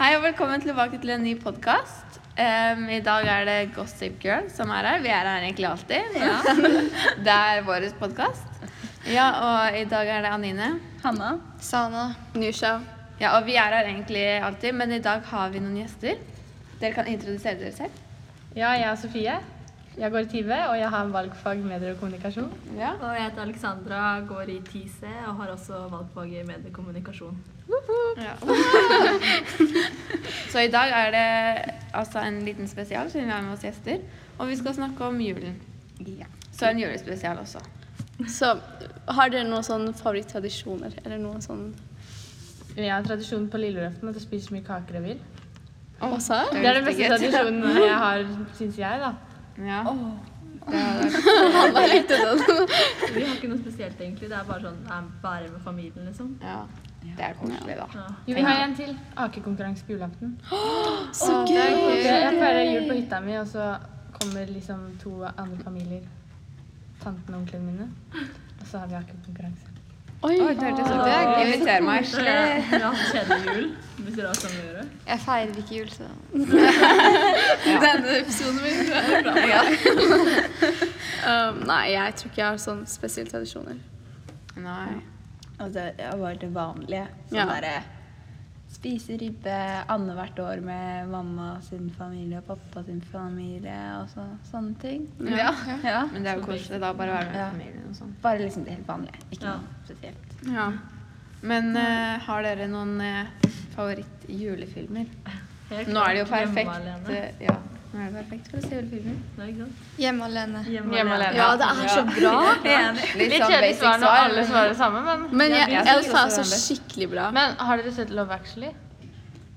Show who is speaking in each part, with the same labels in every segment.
Speaker 1: Hei og velkommen tilbake til en ny podkast. I dag er det Gossip Girl som er her. Vi er her egentlig alltid. det er vår podkast. Ja, og i dag er det Anine.
Speaker 2: Hanna.
Speaker 3: Sana. Nusha.
Speaker 1: Ja, og vi er her egentlig alltid, men i dag har vi noen gjester. Dere kan introdusere dere selv.
Speaker 4: Ja, jeg er Sofie. Jeg går i TIVE, og jeg har valgfag medier og kommunikasjon.
Speaker 1: Ja.
Speaker 2: Og jeg heter Alexandra, går i TISE og har også valgfag i mediekommunikasjon.
Speaker 1: Så i dag er det altså en liten spesial, siden vi har med oss gjester. Og vi skal snakke om julen. Så en julespesial også.
Speaker 3: Så har dere noen sånn favorittradisjoner? Eller noe sånn
Speaker 4: Jeg har tradisjon på lille julaften at jeg spiser så mye kaker jeg vil.
Speaker 3: Hva sa jeg?
Speaker 4: Det er den beste
Speaker 1: Godt.
Speaker 4: tradisjonen jeg har, syns jeg, da.
Speaker 1: Ja.
Speaker 3: Hva likte den?
Speaker 2: Vi har ikke noe spesielt, egentlig. Det er bare sånn jeg er bare med familien, liksom.
Speaker 1: ja. Det er koselig, da.
Speaker 4: Jo, vi har en til. Akekonkurranse på julaften.
Speaker 3: Så
Speaker 1: Å, det er
Speaker 3: gøy!
Speaker 1: gøy.
Speaker 4: Jeg feirer jul på hytta mi, og så kommer liksom to andre familier. Tanten og onklene mine. Og så har vi akekonkurranse.
Speaker 3: Oi,
Speaker 1: Oi, det hørtes ut.
Speaker 3: det er gøy.
Speaker 1: Inviter meg.
Speaker 2: Så jeg har hatt kjedelig jul, hvis dere har sånn å gjøre.
Speaker 3: Jeg feirer ikke jul, så
Speaker 1: Denne episoden min. Ja.
Speaker 3: um, Nei, jeg tror ikke jeg har sånn spesielle tradisjoner.
Speaker 1: Nei.
Speaker 5: Altså, ja, bare det vanlige. Sånn
Speaker 3: Ja.
Speaker 5: derre Spise ribbe annethvert år med mamma sin familie og pappa sin familie og så, sånne ting.
Speaker 1: Ja.
Speaker 5: Ja.
Speaker 1: Men det er jo koselig da, bare å være med
Speaker 5: Ja.
Speaker 1: familien og sånn.
Speaker 5: Bare liksom det helt vanlige. Ikke
Speaker 2: Ja.
Speaker 5: noe spesielt.
Speaker 3: Ja.
Speaker 1: Men eh, har dere noen eh, favoritt-julefilmer?
Speaker 2: Helt
Speaker 1: Nå er det jo
Speaker 2: klart
Speaker 1: perfekt.
Speaker 2: Hjemme alene.
Speaker 1: eh, ja. Nå er det perfekt for å se julefilmer.
Speaker 2: Nei, ikke sant?
Speaker 3: Hjemme alene.
Speaker 2: Hjemme,
Speaker 4: Hjemme
Speaker 2: alene.
Speaker 4: alene.
Speaker 3: Ja, det er så bra.
Speaker 1: Litt
Speaker 4: Litt
Speaker 1: sånn
Speaker 4: kjedelig
Speaker 1: basic
Speaker 4: svar når
Speaker 1: svar,
Speaker 4: alle
Speaker 1: men-
Speaker 4: svarer det samme, men
Speaker 3: Men jeg,
Speaker 1: Ja,
Speaker 3: jeg,
Speaker 1: vi
Speaker 3: jeg,
Speaker 1: sier
Speaker 3: er
Speaker 1: også
Speaker 3: så
Speaker 1: hverandre.
Speaker 3: skikkelig bra.
Speaker 4: Men har dere sett Love Actually?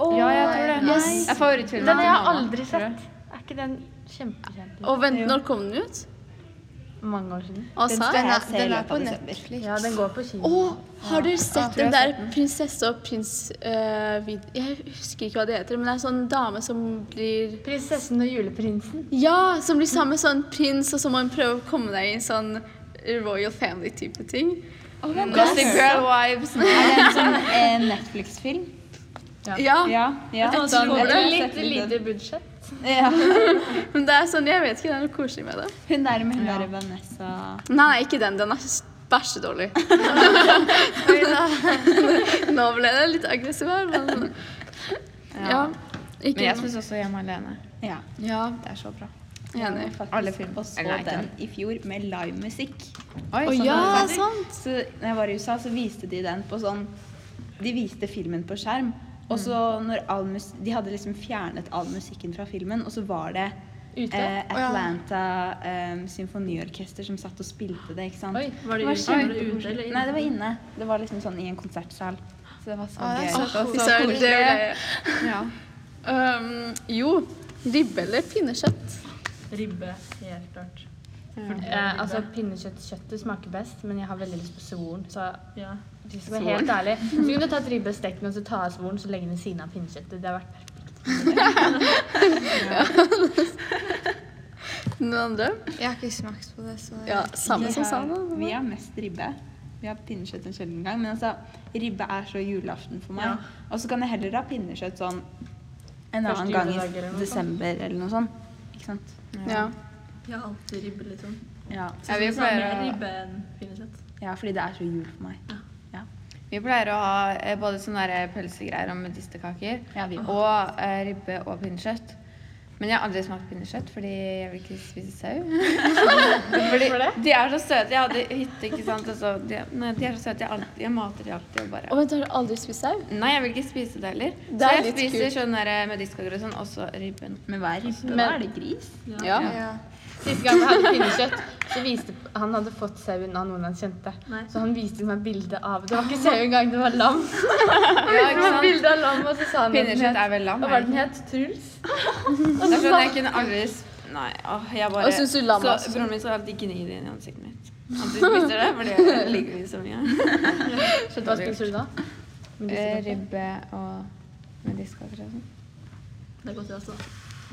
Speaker 1: Ja, jeg tror det.
Speaker 3: Yes.
Speaker 1: Det er favorittfilmen
Speaker 4: Den har
Speaker 1: til
Speaker 4: jeg
Speaker 1: mamma,
Speaker 4: aldri
Speaker 1: tror jeg.
Speaker 4: sett. Er ikke den kjempekjent?
Speaker 3: Og vent, når kom den ut?
Speaker 4: Mange år siden.
Speaker 3: Hva
Speaker 5: Den
Speaker 3: sa
Speaker 5: skal
Speaker 3: jeg?
Speaker 5: jeg se i
Speaker 3: Den er
Speaker 5: løpet
Speaker 3: på
Speaker 5: av desember.
Speaker 3: Netflix.
Speaker 4: Ja, den går på kino.
Speaker 3: Å, har dere sett
Speaker 1: jeg har
Speaker 3: den der
Speaker 1: sett
Speaker 3: prinsesse og prins øh, vid- Jeg husker ikke hva det heter, men det er en sånn dame som blir
Speaker 4: Prinsessen og juleprinsen.
Speaker 3: Ja, som blir sammen med sånn prins, og så må hun prøve å komme deg i en sånn royal family-type ting.
Speaker 1: Gossip Girl Wives.
Speaker 5: Er det en sånn eh, Netflix-film?
Speaker 3: Ja,
Speaker 5: Ja. ja.
Speaker 3: Jeg tror
Speaker 5: Jeg tror jeg har
Speaker 4: Litt
Speaker 5: sett litt
Speaker 4: lite budsjett.
Speaker 5: Ja.
Speaker 3: men det er sånn, jeg vet ikke, det er noe koselig med det.
Speaker 5: Hun der med hun der Vanessa
Speaker 3: Nei, nei, ikke den, den er s- bæsjedårlig. Nå ble det litt aggressiv her, men Ja. Ikke
Speaker 1: Men jeg
Speaker 3: noe.
Speaker 1: syns også Hjemme alene.
Speaker 5: Ja.
Speaker 3: Ja,
Speaker 1: Det er så bra.
Speaker 3: enig.
Speaker 1: Alle
Speaker 5: Alle
Speaker 1: film.
Speaker 5: filmer. Og så
Speaker 1: Eller nei, ikke
Speaker 5: den i fjor med livemusikk.
Speaker 1: Oi,
Speaker 3: Å
Speaker 1: sånn
Speaker 3: ja,
Speaker 1: var det.
Speaker 3: sant.
Speaker 5: Så når jeg var i USA, så viste de den på sånn De viste filmen på skjerm. Og så når all mus De hadde liksom fjernet all musikken fra filmen, og så var det
Speaker 4: Ute?
Speaker 5: eh, Atlanta eh, symfoniorkester som satt og spilte det, ikke sant.
Speaker 4: Oi,
Speaker 2: Var det
Speaker 5: Det var
Speaker 2: ute, var det
Speaker 5: kjempe-
Speaker 2: ute eller
Speaker 5: Nei, det var inne. Det var liksom sånn i en konsertsal. Så det var så gøy.
Speaker 3: Åh, så det ble-
Speaker 1: Ja.
Speaker 3: Um, jo, ribbe eller pinnekjøtt?
Speaker 2: Ribbe, helt klart.
Speaker 4: Eh, altså, Pinnekjøttkjøttet smaker best, men jeg har veldig lyst på svoren. Så
Speaker 2: Ja.
Speaker 4: hvis jeg skal være helt ærlig, så kunne du tatt ribbe og stekt den, og så ta av svoren, så legge den ved siden av pinnekjøttet. Det har vært perfekt.
Speaker 3: Noen andre?
Speaker 6: Jeg har ikke smakt på det, så
Speaker 3: Ja, samme
Speaker 5: Vi
Speaker 3: som
Speaker 5: har-
Speaker 3: Sana.
Speaker 5: Vi har mest ribbe. Vi har pinnekjøtt en sjelden gang. Men altså, ribbe er så julaften for meg.
Speaker 2: Ja.
Speaker 5: Og så kan jeg heller ha pinnekjøtt sånn en
Speaker 4: Første
Speaker 5: annen gang i
Speaker 4: juledag eller noe sånt.
Speaker 5: desember eller noe sånt. Ikke sant?
Speaker 3: Ja.
Speaker 2: Jeg har alltid ribbe, liksom.
Speaker 5: Ja.
Speaker 1: Ja, vi
Speaker 2: Så det er
Speaker 1: pleier
Speaker 2: mer
Speaker 1: å-
Speaker 2: ribbe enn pinnekjøtt.
Speaker 5: ja, fordi det er så jul for meg.
Speaker 1: Vi pleier å ha eh, både sånne der pølsegreier og medisterkaker
Speaker 5: Ja, vi-
Speaker 1: og eh, ribbe og pinnekjøtt. Men jeg har aldri smakt pinnekjøtt fordi jeg vil ikke spise sau. fordi
Speaker 4: Hvorfor det?
Speaker 1: De er så søte. Jeg hadde hytte, ikke sant. Og så de, nei, de er så søte. Jeg, alltid, jeg mater de alltid og
Speaker 3: Og
Speaker 1: bare
Speaker 3: vent, har du aldri spist sau?
Speaker 1: Nei, jeg vil ikke spise det heller.
Speaker 3: Det
Speaker 1: så
Speaker 3: er
Speaker 1: jeg
Speaker 3: litt
Speaker 1: spiser
Speaker 3: kult.
Speaker 1: sånn der medisterkaker og sånn, også ribben.
Speaker 5: Altså, Men hva er ribbe?
Speaker 4: Men-
Speaker 5: da? Er det gris?
Speaker 3: Ja.
Speaker 4: Siste gang jeg hadde pinnekjøtt, så viste han hadde fått sauen av noen han kjente.
Speaker 2: Nei.
Speaker 4: Så han viste meg bilde av Det var ikke sau engang, det var lam.
Speaker 1: Ja,
Speaker 4: Det
Speaker 1: ikke
Speaker 4: var
Speaker 1: sant?
Speaker 4: bilde av lam, og så sa han hva den
Speaker 1: Pinnekjøtt
Speaker 4: het.
Speaker 1: er vel lam?
Speaker 4: Hva
Speaker 1: er
Speaker 4: var
Speaker 1: det
Speaker 4: den
Speaker 1: ikke?
Speaker 4: het? Truls?
Speaker 1: Det er sånn jeg kunne aldri s- Nei, åh, jeg bare
Speaker 3: Og syns du lam er
Speaker 1: Så
Speaker 3: søt?
Speaker 1: broren min skal alltid gni det inn i ansiktet mitt. Han spiser det fordi jeg liker det så mye. Så
Speaker 4: Hva
Speaker 1: dårlig gjort.
Speaker 4: spiser du da?
Speaker 1: Eh,
Speaker 4: Medisterkaker?
Speaker 1: Ribbe og medisterkaker og sånn.
Speaker 2: Det er godt, det også.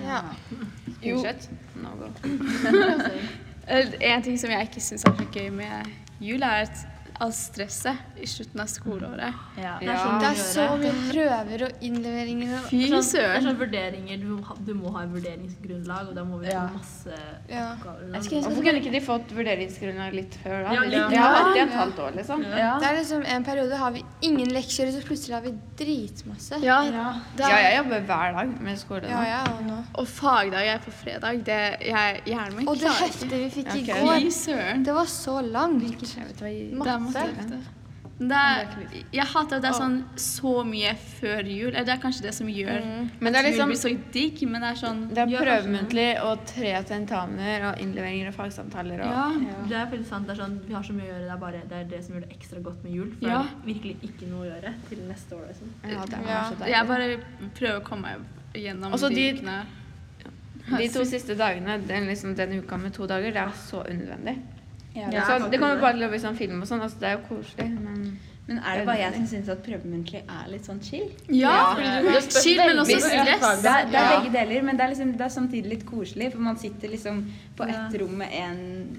Speaker 3: Ja. Jo.
Speaker 1: Pinnekjøtt? No go.
Speaker 3: Eh, En ting som jeg ikke syns er så gøy med jul, er at all stresset i slutten av skoleåret.
Speaker 2: Ja.
Speaker 1: Det er sånn
Speaker 2: så mye å
Speaker 6: Det er så
Speaker 2: gjøre.
Speaker 6: mye prøver og innleveringer. og-
Speaker 3: Fy
Speaker 2: Sånn, det er
Speaker 3: søren!
Speaker 2: sånn vurderinger, du, må ha- du må ha et vurderingsgrunnlag, og da må vi
Speaker 4: Ja.
Speaker 2: ha masse
Speaker 6: Ja.
Speaker 2: oppgaver.
Speaker 1: Jeg skulle ønske at kunne ikke de fått vurderingsgrunnlag litt før da?
Speaker 2: Ja,
Speaker 1: Litt-
Speaker 2: litt
Speaker 1: ja,
Speaker 6: nå.
Speaker 1: det er et halvt år, liksom.
Speaker 5: Ja.
Speaker 6: Det er liksom En periode har vi ingen lekser, og så plutselig har vi dritmasse.
Speaker 3: Ja,
Speaker 6: Det er-
Speaker 1: Ja, jeg jobber hver dag med skole
Speaker 6: ja,
Speaker 1: nå.
Speaker 6: ja, og nå.
Speaker 3: og fagdag er på fredag. Det, jeg, hjernen min
Speaker 6: Og det
Speaker 3: klarer ikke.
Speaker 6: heftet vi fikk i
Speaker 1: Ja, ok.
Speaker 6: går,
Speaker 3: Fy søren!
Speaker 6: det var så langt.
Speaker 1: Jeg vet hva jeg-
Speaker 3: Det er masse
Speaker 1: Matte.
Speaker 3: hefte. Det er, jeg hater at det er sånn så mye før jul. Eller det er kanskje det som gjør
Speaker 1: Men det er
Speaker 3: at
Speaker 1: liksom
Speaker 3: jul blir så digg, men det er sånn
Speaker 1: Det er
Speaker 2: Gjør
Speaker 1: prøvemuntlig og tre tentamener og innleveringer og fagsamtaler og
Speaker 3: Ja.
Speaker 2: Det er veldig sant. Det er sånn, vi har så mye å gjøre. Det er, bare, det er det som gjør det ekstra godt med jul. For
Speaker 3: Ja.
Speaker 2: det er virkelig ikke noe å gjøre til neste år. Liksom.
Speaker 1: Ja, det er
Speaker 6: Ja.
Speaker 1: så deilig.
Speaker 3: Jeg bare prøver å komme meg gjennom
Speaker 1: Også
Speaker 3: de
Speaker 1: de-
Speaker 3: ukene.
Speaker 1: De to siste dagene, den, liksom, den uka med to dager, det er så unødvendig.
Speaker 2: Ja.
Speaker 1: så det kommer bare til å bli sånn film og sånn. Altså, det er jo koselig, men
Speaker 5: Men er det bare jeg som syns at prøvemuntlig er litt sånn chill?
Speaker 3: Ja!
Speaker 4: Det spørs
Speaker 3: Chill, men også
Speaker 4: veldig hvilket fag
Speaker 3: stress.
Speaker 5: Det er, det er
Speaker 1: Ja.
Speaker 5: begge deler, men det er, liksom, det er samtidig litt koselig. For man sitter liksom på ett rom med en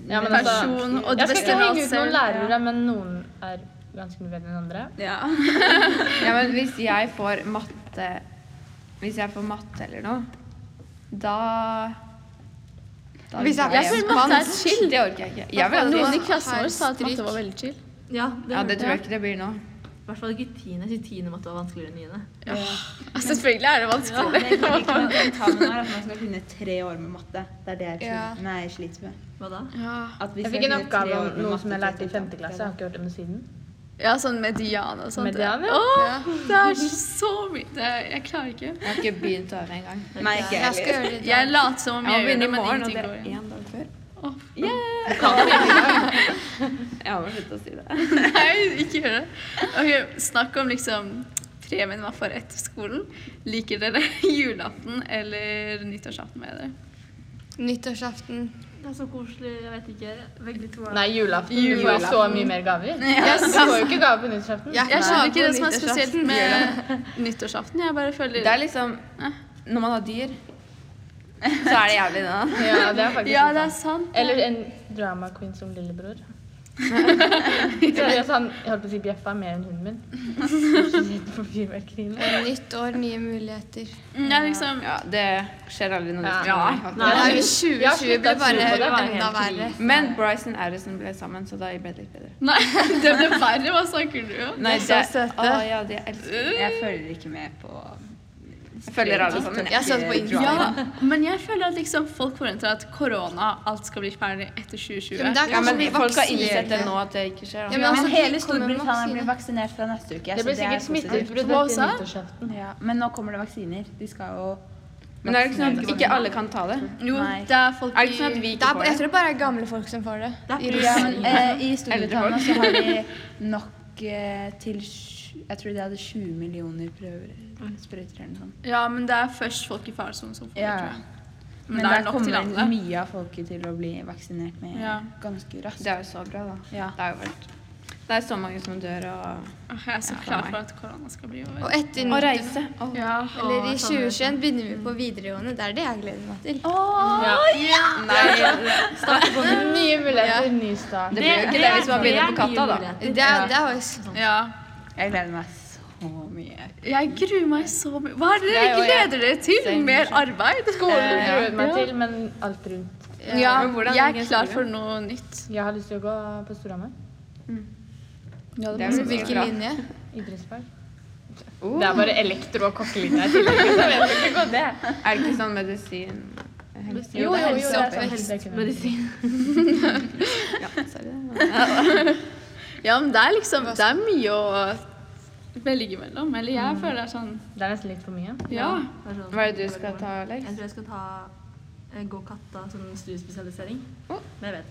Speaker 4: Ja, men
Speaker 5: med-
Speaker 4: altså-
Speaker 3: Person, og det
Speaker 4: Jeg skal
Speaker 3: beste
Speaker 4: ikke
Speaker 3: med
Speaker 4: henge
Speaker 3: oss
Speaker 4: ut noen
Speaker 3: selv.
Speaker 4: lærere, men noen er ganske mye bedre enn andre.
Speaker 5: ja.
Speaker 1: Ja, men hvis jeg får matte Hvis jeg får matte eller noe, da da
Speaker 6: Hvis jeg-
Speaker 1: vil
Speaker 6: Jeg
Speaker 1: hjem.
Speaker 6: føler matte er
Speaker 3: chill.
Speaker 1: Det orker jeg ikke. Jeg vil aldri
Speaker 3: Noen i
Speaker 6: Har
Speaker 3: klassen vår sa at
Speaker 6: stryk.
Speaker 3: matte var veldig chill.
Speaker 2: Ja, det,
Speaker 1: Ja, det tror jeg ikke det blir nå.
Speaker 2: I hvert fall ikke tiende. Jeg syns tiende måtte være vanskeligere enn niende.
Speaker 3: Altså, selvfølgelig er det
Speaker 5: Det
Speaker 3: vanskelig.
Speaker 5: jeg ikke liker med tentamen, er at man skal kunne tre år med matte. Det er det jeg tror.
Speaker 6: Ja.
Speaker 5: Nei, jeg sliter med.
Speaker 2: Hva da?
Speaker 3: Ja.
Speaker 5: At vi
Speaker 4: Jeg
Speaker 5: skal
Speaker 4: fikk en
Speaker 5: kunne tre
Speaker 4: oppgave
Speaker 5: år
Speaker 4: om
Speaker 5: med
Speaker 4: noe
Speaker 5: matte
Speaker 4: som jeg
Speaker 5: til
Speaker 4: lærte i femte
Speaker 5: tentamen.
Speaker 4: klasse. Jeg har ikke hørt om det siden.
Speaker 3: ja, sånn median og sånt.
Speaker 4: Median, ja.
Speaker 3: Åh,
Speaker 6: Ja.
Speaker 3: det er så mye det, Jeg klarer ikke.
Speaker 1: Jeg har ikke begynt å øve engang.
Speaker 5: Nei, ikke
Speaker 6: Jeg skal
Speaker 5: heller.
Speaker 6: gjøre det i
Speaker 3: Jeg
Speaker 6: dag.
Speaker 3: later som om
Speaker 1: Jeg må
Speaker 3: jeg gjør
Speaker 1: begynne i
Speaker 3: det, men
Speaker 1: morgen, og
Speaker 3: ingenting
Speaker 1: det
Speaker 3: går.
Speaker 1: er
Speaker 3: igjen.
Speaker 1: én dag før.
Speaker 5: Yeah.
Speaker 1: Jeg må slutte å si det.
Speaker 3: Nei, ikke gjør det. Ok, Snakk om liksom premien man får etter skolen. Liker dere julaften eller nyttårsaften med dere?
Speaker 6: Nyttårsaften.
Speaker 2: Det er så koselig. Jeg vet ikke. Begge to er
Speaker 4: Nei, julaften. Du får jo så mye mer gaver. Du får jo ikke gaver på nyttårsaften.
Speaker 6: Jeg er
Speaker 3: Jeg
Speaker 6: ikke
Speaker 3: skjønner
Speaker 6: naboen
Speaker 3: ikke det som er
Speaker 6: nyttårsaften.
Speaker 3: spesielt med nyttårsaften. Jeg bare føler
Speaker 1: Det er liksom Når man har dyr, så er det jævlig det, da.
Speaker 4: Ja, det er faktisk
Speaker 3: Ja,
Speaker 4: litt
Speaker 3: det er
Speaker 4: sant.
Speaker 3: sant.
Speaker 4: Eller en drama queen som lillebror. Seriøst, han jeg holdt på å si bjeffa mer enn hunden min. Jeg er så redd for fyrverkeriene.
Speaker 6: Nytt år, nye muligheter.
Speaker 3: Ja, liksom,
Speaker 1: Ja, det skjer aldri noe.
Speaker 4: Ja.
Speaker 1: Ja, faktisk.
Speaker 4: Nei,
Speaker 6: Nei,
Speaker 4: jeg har
Speaker 6: 2020
Speaker 4: sluttet å tro på
Speaker 6: ble bare
Speaker 4: det, det var
Speaker 6: enda
Speaker 4: helt
Speaker 6: verre.
Speaker 1: Men Bryson og Addison ble sammen, så da ble det litt bedre.
Speaker 3: Nei, det ble verre. Hva snakker du om?
Speaker 1: Nei, det,
Speaker 6: er så søte.
Speaker 1: Å, ja, de elsker
Speaker 5: Jeg følger ikke med på
Speaker 1: Jeg følger alle sammen.
Speaker 6: Jeg så det på Instagram.
Speaker 3: Ja, men jeg føler at liksom folk forventer at korona, alt skal bli ferdig etter 2020.
Speaker 6: Ja, men det er
Speaker 1: Ja,
Speaker 6: kanskje
Speaker 1: men
Speaker 6: vi
Speaker 1: folk har
Speaker 6: vaksinerer.
Speaker 1: innsett det nå at det ikke skjer.
Speaker 6: Ja,
Speaker 1: Da.
Speaker 6: men
Speaker 5: Men
Speaker 6: altså, de
Speaker 5: hele
Speaker 6: kommer med
Speaker 5: Storbritannia
Speaker 6: vaksine.
Speaker 5: blir vaksinert fra neste uke.
Speaker 4: Det
Speaker 5: så
Speaker 4: blir
Speaker 5: er
Speaker 4: sikkert
Speaker 5: positivt.
Speaker 4: smitteutbrudd
Speaker 3: Hva
Speaker 4: etter
Speaker 3: sa?
Speaker 4: nyttårsaften.
Speaker 5: Ja. Men nå kommer det vaksiner. De skal jo
Speaker 1: Men er det ikke sånn at ikke alle kan ta det?
Speaker 3: jo,
Speaker 5: Nei.
Speaker 3: det er folk
Speaker 1: Er det ikke sånn at vi
Speaker 6: Det
Speaker 1: ikke
Speaker 6: er,
Speaker 1: får
Speaker 6: jeg
Speaker 1: det?
Speaker 6: tror det bare er gamle folk som får det.
Speaker 2: Det er
Speaker 6: I
Speaker 5: Ja,
Speaker 6: Russland.
Speaker 5: men eh, i Storbritannia
Speaker 1: Eldre
Speaker 5: så har de nok eh, til sj- Jeg tror de hadde 20 millioner prøver. Sprøyter eller noe sånt.
Speaker 3: i, Ja, men det er først folk i faresonen som får det,
Speaker 5: Ja.
Speaker 3: tror jeg.
Speaker 5: Men,
Speaker 3: det er
Speaker 5: der
Speaker 3: nok til alle.
Speaker 5: kommer mye av folket til å bli vaksinert med
Speaker 3: Ja.
Speaker 5: ganske raskt.
Speaker 1: Det er jo så bra, da.
Speaker 5: Ja.
Speaker 1: Det er jo vært Det er så mange som dør og
Speaker 3: Åh, Jeg er så
Speaker 1: Ja,
Speaker 3: klar
Speaker 1: for
Speaker 3: for at korona skal bli over.
Speaker 6: Og etter
Speaker 1: Å
Speaker 6: nyttår-
Speaker 1: reise. Å,
Speaker 3: Ja.
Speaker 6: Eller i
Speaker 2: Å,
Speaker 6: 2021 begynner vi på videregående. Det er det jeg gleder meg til.
Speaker 4: Ja.
Speaker 1: Nei,
Speaker 4: Nye muligheter, ny start.
Speaker 1: det blir jo ikke det hvis man begynner på Katta, da.
Speaker 6: Det er, det er jo sånn.
Speaker 3: ja.
Speaker 5: Jeg gleder meg så mye.
Speaker 3: Jeg gruer meg så mye. Hva er det
Speaker 1: Det er
Speaker 3: dere
Speaker 1: jo jeg.
Speaker 3: gleder dere til?
Speaker 1: Same
Speaker 3: Mer
Speaker 1: shit.
Speaker 3: arbeid? Eh,
Speaker 4: Skolen
Speaker 1: Eh,
Speaker 4: gruer jeg meg til, men alt rundt.
Speaker 3: Ja,
Speaker 1: Men hvordan
Speaker 3: jeg
Speaker 1: ligger
Speaker 3: er klar
Speaker 1: skolen?
Speaker 3: for noe nytt.
Speaker 4: Jeg har lyst til å gå på Storhamar.
Speaker 1: det er jo
Speaker 6: Hvilken
Speaker 1: bra.
Speaker 6: linje?
Speaker 4: Idrettsfag.
Speaker 1: Oh.
Speaker 4: Det er bare elektro- og kokkelinja i tillegg. så jeg vet ikke hva det er.
Speaker 1: Er det ikke sånn medisin Helse-
Speaker 4: Jo, jo, jo, det er sånn
Speaker 6: Helseoppvekst.
Speaker 4: helseøkonomi.
Speaker 1: Ja, sorry.
Speaker 3: Ja, men det er liksom Det er mye å velge mellom. Eller jeg føler det er sånn
Speaker 4: Det er nesten litt for mye.
Speaker 3: Ja.
Speaker 1: Hva er det du skal ta, Alex?
Speaker 2: sånn- Jeg tror jeg skal ta eh, gå katta som studiespesialisering.
Speaker 1: Å.
Speaker 2: Men jeg vet.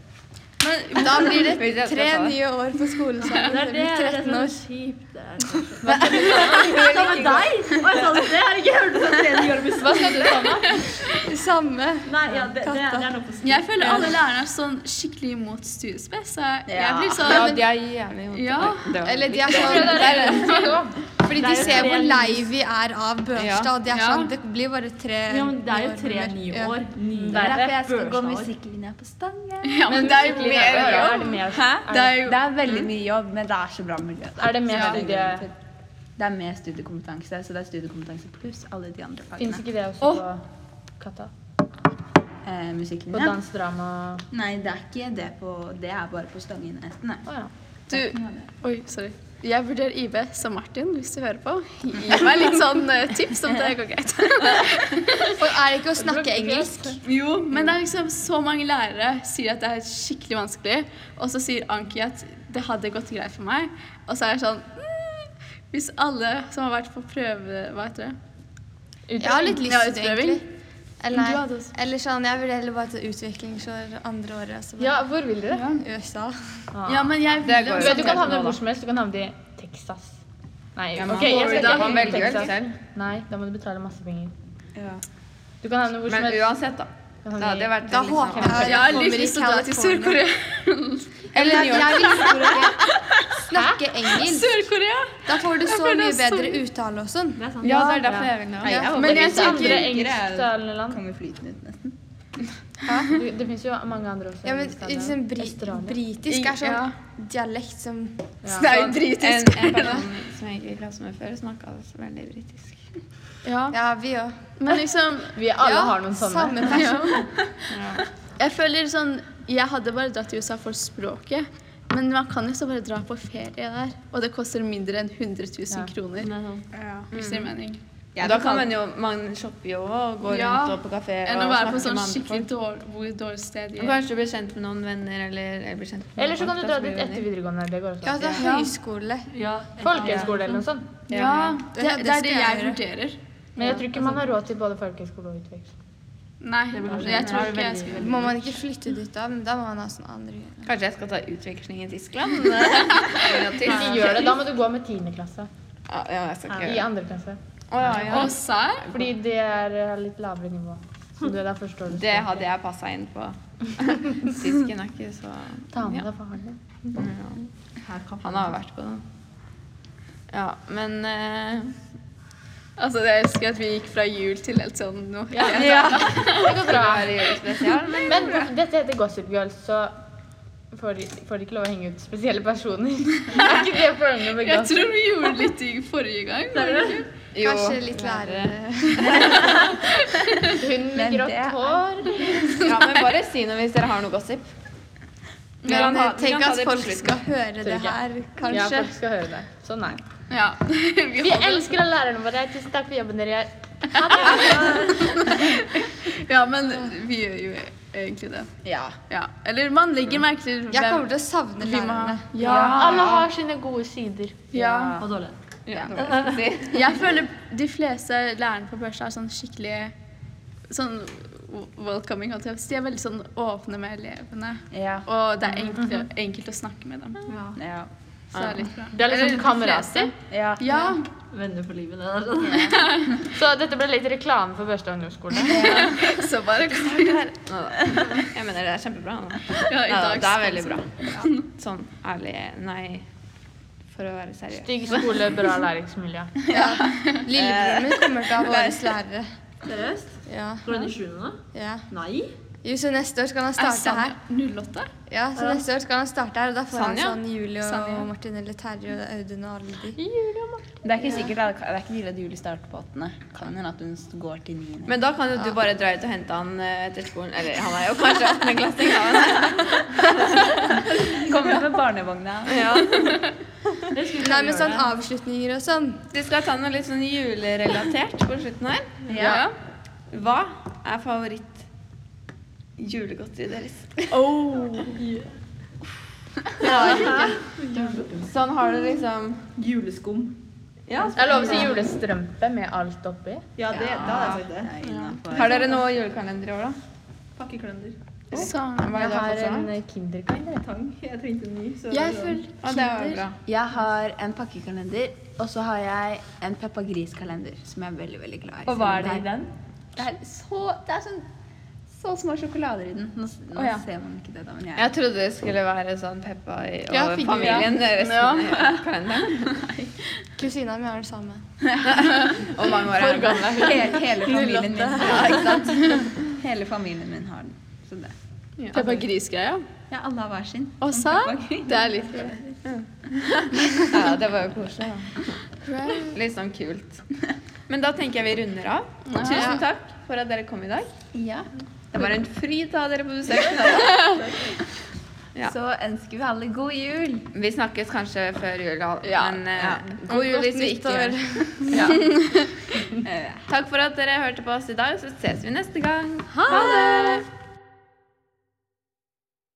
Speaker 6: Men da blir det
Speaker 1: Hvis jeg skal
Speaker 6: tre
Speaker 1: ta det.
Speaker 6: nye år på skolen sammen.
Speaker 2: Det er det,
Speaker 6: Det blir
Speaker 2: det er sånn
Speaker 6: 13 år.
Speaker 2: kjipt. Det er så kjipt. Hva med deg? Hva sa du det? Har ikke hørt det tredje året med
Speaker 4: Hva skal du ta nå?
Speaker 6: Det samme.
Speaker 2: Nei, ja, det, det, det er noe på
Speaker 3: Jeg føler alle lærerne er sånn skikkelig imot studiespes. så Jeg jeg blir
Speaker 1: Ja,
Speaker 3: sånn
Speaker 1: de er jævlig vondt.
Speaker 3: Ja.
Speaker 1: Det var-
Speaker 6: Eller de er sånn
Speaker 4: Det er det.
Speaker 6: Fordi
Speaker 2: Det er
Speaker 6: de
Speaker 2: jo
Speaker 6: ser
Speaker 2: tre
Speaker 6: hvor
Speaker 2: lys.
Speaker 6: lei vi er av Børstad. Det, er
Speaker 3: Ja.
Speaker 6: sånn, det blir bare tre
Speaker 2: Ja, men det er jo
Speaker 6: nye
Speaker 2: tre
Speaker 6: ormer.
Speaker 2: nye
Speaker 6: Ja.
Speaker 2: år. Nye
Speaker 1: Det er
Speaker 2: år
Speaker 1: derfor jeg skal gå
Speaker 2: børsår.
Speaker 5: Musikklinja på Stange.
Speaker 3: Ja, men det er jo
Speaker 2: Musikklinja
Speaker 3: mer
Speaker 2: er bra. Er det
Speaker 3: jobb.
Speaker 2: mer-
Speaker 3: Hæ? Det er jo
Speaker 5: Det er veldig mye jobb, men det er så bra miljø. der.
Speaker 4: Er det mer
Speaker 3: Ja.
Speaker 4: studie...
Speaker 5: Det er mer studiekompetanse, så det er studiekompetanse pluss alle de andre
Speaker 4: Fins
Speaker 5: fagene.
Speaker 4: ikke det også
Speaker 3: Åh.
Speaker 4: på Katta?
Speaker 5: Eh,
Speaker 4: På
Speaker 5: musikklinja.
Speaker 4: dans, drama
Speaker 5: Nei, det er ikke det på Det er bare på Stangenesen.
Speaker 4: Å ja.
Speaker 3: du Oi, sorry. Jeg vurderer IB som Martin, hvis du hører på. Gi meg litt sånn eh, tips om det går greit.
Speaker 6: For er det ikke å snakke engelsk?
Speaker 5: altså.
Speaker 3: Jo, men det er liksom så mange lærere sier at det er skikkelig vanskelig, og så sier Anki at det hadde gått greit for meg, og så er jeg sånn mm, Hvis alle som har vært på prøve Hva heter det?
Speaker 6: Jeg har litt lyst
Speaker 3: Ja,
Speaker 6: til det, egentlig.
Speaker 3: Men
Speaker 6: Eller,
Speaker 3: du hadde
Speaker 6: nei.
Speaker 3: også-
Speaker 6: eller sånn, jeg vil heller bare ta utviklingsår andre året. og Så
Speaker 4: ja,
Speaker 6: bare
Speaker 4: hvor vil dere?
Speaker 6: USA.
Speaker 3: Ja, men jeg
Speaker 1: Ah, Det
Speaker 4: Du
Speaker 1: går
Speaker 4: vet, du kan havne hvor som helst. Du kan havne i Texas. Nei,
Speaker 1: man-
Speaker 4: ok, jeg skal
Speaker 1: Da
Speaker 4: ikke
Speaker 1: man
Speaker 4: havne i
Speaker 1: velger
Speaker 4: Texas.
Speaker 1: selv.
Speaker 4: Nei, da må du betale masse penger.
Speaker 5: Ja.
Speaker 4: Du kan havne hvor som
Speaker 1: Men
Speaker 4: helst.
Speaker 1: uansett, da.
Speaker 4: Du
Speaker 1: Det
Speaker 4: kan havne
Speaker 1: hadde
Speaker 4: i-
Speaker 1: vært
Speaker 6: Da
Speaker 1: liksom-
Speaker 6: håper jeg
Speaker 3: Jeg har
Speaker 6: jeg kommer i
Speaker 3: lyst til å dra til
Speaker 6: California.
Speaker 3: Sør-Korea.
Speaker 1: Eller New York.
Speaker 6: Jeg vil snakke, snakke engelsk.
Speaker 3: Sør-Korea!
Speaker 6: Da får du så
Speaker 3: føler det
Speaker 6: mye
Speaker 3: er så-
Speaker 6: bedre uttale og sånn.
Speaker 2: Det er sant.
Speaker 1: Ja, det er derfor jeg vil det.
Speaker 6: Ja.
Speaker 5: Men
Speaker 4: Det
Speaker 5: jeg
Speaker 4: finnes jo andre
Speaker 5: tenker-
Speaker 4: engelsktalende land.
Speaker 5: Kommer flytende ut nesten.
Speaker 4: Du, det finnes jo mange andre også.
Speaker 6: Ja, men
Speaker 4: engelsktalende
Speaker 6: liksom,
Speaker 4: land.
Speaker 6: bri
Speaker 4: Australia.
Speaker 6: britisk er
Speaker 3: Ja.
Speaker 6: sånn dialekt som
Speaker 1: Det er jo
Speaker 3: britisk.
Speaker 1: En, en person som jeg gikk i klasse med før, snakka veldig britisk.
Speaker 3: Ja,
Speaker 6: Ja, vi òg.
Speaker 3: men liksom
Speaker 4: Vi alle
Speaker 6: ja,
Speaker 4: har noen sånne.
Speaker 6: Samme person.
Speaker 3: Jeg føler sånn Jeg hadde bare dratt til USA for språket. Men man kan jo så bare dra på ferie der. Og det koster mindre enn 100 000
Speaker 4: Ja.
Speaker 3: kroner. Hvis det gir mening.
Speaker 5: Jeg
Speaker 1: da kan
Speaker 5: betalte-
Speaker 1: man jo Man shopper jo og går
Speaker 3: Ja,
Speaker 1: rundt og på kafé og
Speaker 3: Enn å være på
Speaker 1: snakker
Speaker 3: sånn
Speaker 1: med andre
Speaker 3: skikkelig
Speaker 1: folk.
Speaker 3: dårlig, hvor dårlig sted de
Speaker 1: Og Kanskje du blir kjent med noen venner, eller, eller blir kjent med
Speaker 4: Eller så
Speaker 1: noen
Speaker 4: kan du
Speaker 1: folk,
Speaker 4: dra
Speaker 1: da, som
Speaker 4: dit
Speaker 1: blir
Speaker 4: etter
Speaker 1: venner.
Speaker 4: videregående. Det går også.
Speaker 6: Ja, det er høyskole.
Speaker 4: Folkehøyskole eller noe sånt.
Speaker 3: Ja, det,
Speaker 6: Ja, det
Speaker 3: det er
Speaker 6: skal
Speaker 3: det
Speaker 6: jeg
Speaker 3: jeg
Speaker 6: gjøre.
Speaker 3: vurderer.
Speaker 4: Men jeg tror ikke man har råd til både folkehøyskole og utveksling.
Speaker 3: Nei, jeg tror ikke jeg skal
Speaker 6: Må man ikke flytte dit da, men da må man ha sånn andre
Speaker 1: Kanskje jeg skal ta utveksling i Tyskland? Ja,
Speaker 4: Hvis de gjør det, da må du gå med tiendeklasse.
Speaker 1: ja, jeg skal ikke
Speaker 4: I
Speaker 1: gjøre det.
Speaker 4: andre klasse.
Speaker 1: Å, ja, ja.
Speaker 3: Og sær?
Speaker 4: Fordi det er eh, litt lavere nivå. Så du, da forstår du
Speaker 1: Det
Speaker 4: språket.
Speaker 1: hadde jeg passa inn på. Tysken er ikke så
Speaker 4: Ta med deg faren din.
Speaker 1: ja. Han har vært på den. Ja, men eh,
Speaker 3: Altså, jeg elsker at vi gikk fra jul til helt sånn noe.
Speaker 1: Det går bra. Det er spesial, men
Speaker 4: Men hvorfor- dette heter Gossip Girls, så får de, får de ikke lov å henge ut spesielle personer. er ikke det poenget med
Speaker 3: Jeg
Speaker 4: Gossip?
Speaker 3: tror vi gjorde litt i forrige gang. var det ikke?
Speaker 6: Kanskje litt lærere.
Speaker 4: Hun med grått hår.
Speaker 1: Ja, men bare si noe hvis dere har noe gossip. Vi kan
Speaker 6: Men eh,
Speaker 1: ta- vi kan
Speaker 6: tenk
Speaker 1: ta
Speaker 6: at
Speaker 1: det på
Speaker 6: folk
Speaker 1: slutten.
Speaker 6: skal høre det
Speaker 4: ikke.
Speaker 6: her,
Speaker 4: Ja,
Speaker 6: kanskje.
Speaker 4: folk skal høre det. Sånn er det.
Speaker 3: Ja. Vi
Speaker 4: Vi
Speaker 3: holder oss.
Speaker 4: elsker alle lærerne våre. Tusen takk for jobben dere gjør.
Speaker 3: Ja, men vi gjør jo egentlig det.
Speaker 5: Ja.
Speaker 3: Ja. Eller man legger merke til
Speaker 6: Jeg kommer
Speaker 3: hvem
Speaker 6: til å savne
Speaker 3: vi må ha.
Speaker 6: lærerne.
Speaker 4: Alle har sine gode sider.
Speaker 3: Ja.
Speaker 2: Og dårlig.
Speaker 3: Jeg føler de fleste lærerne på børsa er sånn skikkelig sånn welcoming. holdt jeg på å si. De er veldig sånn åpne med elevene.
Speaker 5: Ja.
Speaker 3: Og det er enkelt, enkelt å snakke med dem.
Speaker 5: ja.
Speaker 3: Så det er litt bra.
Speaker 4: Det er
Speaker 3: Eller de
Speaker 4: liksom kamerater.
Speaker 3: fleste.
Speaker 5: ja.
Speaker 3: Ja.
Speaker 2: Venner for livet, det sånn. der.
Speaker 4: Så dette ble litt reklame for Børstad ungdomsskole.
Speaker 3: Så bare
Speaker 1: Jeg mener det er kjempebra. Da.
Speaker 3: Ja, i
Speaker 1: Neida,
Speaker 3: dag
Speaker 1: det er veldig bra. Sånn ærlig Nei, for å være seriøs.
Speaker 4: Stygg skole, bra læringsmiljø.
Speaker 6: Lillebroren min kommer til å ha våre lærere.
Speaker 2: Seriøst?
Speaker 6: Ja,
Speaker 2: Går han i sjuende nå?
Speaker 6: ja.
Speaker 2: Nei.
Speaker 6: Jo, så neste år skal han
Speaker 3: Er
Speaker 6: starte her.
Speaker 3: Sanja 08?
Speaker 6: Ja, så neste år skal han starte her, og da får han
Speaker 1: Sanja?
Speaker 6: sånn Julie
Speaker 3: Sanja.
Speaker 6: og Martin eller Terje og Audun og alle de.
Speaker 5: Det er ikke sikkert det er ikke tydelig at juli starter på 8. Kan hende at hun går til 9.
Speaker 1: Men da kan jo du bare dra ut og hente han eh, etter skolen. Eller han er jo kanskje 18. klassing. da,
Speaker 5: Kommer med barnevogna.
Speaker 1: men- Ja.
Speaker 6: Nei, men sånn avslutninger og sånn.
Speaker 1: Vi skal ta noe litt sånn julerelatert på slutten her.
Speaker 5: Ja.
Speaker 1: Hva er favoritt julegodteriet deres? Oh, Sånn har du liksom
Speaker 2: Juleskum.
Speaker 1: ja,
Speaker 4: Det er lov å si julestrømpe med alt oppi.
Speaker 2: Ja, det, da hadde jeg sagt det.
Speaker 1: Har dere noe julekalender i år, da?
Speaker 2: Pakkeklender.
Speaker 3: Sånn.
Speaker 1: Hva er
Speaker 4: Jeg
Speaker 1: det
Speaker 4: har
Speaker 1: for
Speaker 4: en
Speaker 1: sånn?
Speaker 4: Kinderkalender.
Speaker 2: Tang. Jeg trengte en ny. Så
Speaker 3: Jeg
Speaker 2: det var-
Speaker 1: Ja,
Speaker 3: føler
Speaker 1: det var bra.
Speaker 5: Jeg har en pakkekalender, og så har jeg en Peppa Gris-kalender, som jeg er veldig veldig glad i.
Speaker 2: Og hva er det i den?
Speaker 5: Det er så Det er sånn så små sjokolader i den. Nå, s- nå
Speaker 1: Å, ja.
Speaker 5: ser man ikke det, da, men jeg
Speaker 1: Jeg trodde det skulle være sånn Peppa i- og
Speaker 3: Ja, figurer.
Speaker 1: familien. Resten
Speaker 3: Ja.
Speaker 1: av kalenderen.
Speaker 6: Kusina mi har det samme.
Speaker 5: Og mange år er den. Hele, hele familien min. Ja, ikke sant? Hele familien min har den. Så det.
Speaker 3: Peppa Gris-greia.
Speaker 5: Ja, alle har hver sin.
Speaker 3: Og så Det er litt
Speaker 1: Ja, det var jo koselig. da. Litt sånn kult. Men da tenker jeg vi runder av. Tusen takk for at dere kom i dag.
Speaker 5: Ja.
Speaker 1: Det var en fryd å ha dere på besøk. Ja.
Speaker 5: Så ønsker vi alle god jul.
Speaker 1: Vi snakkes kanskje før jul, da.
Speaker 3: Ja.
Speaker 1: men eh, god jul hvis vi ikke gjør det. Takk for at dere hørte på oss i dag, så ses vi neste gang. Ha det!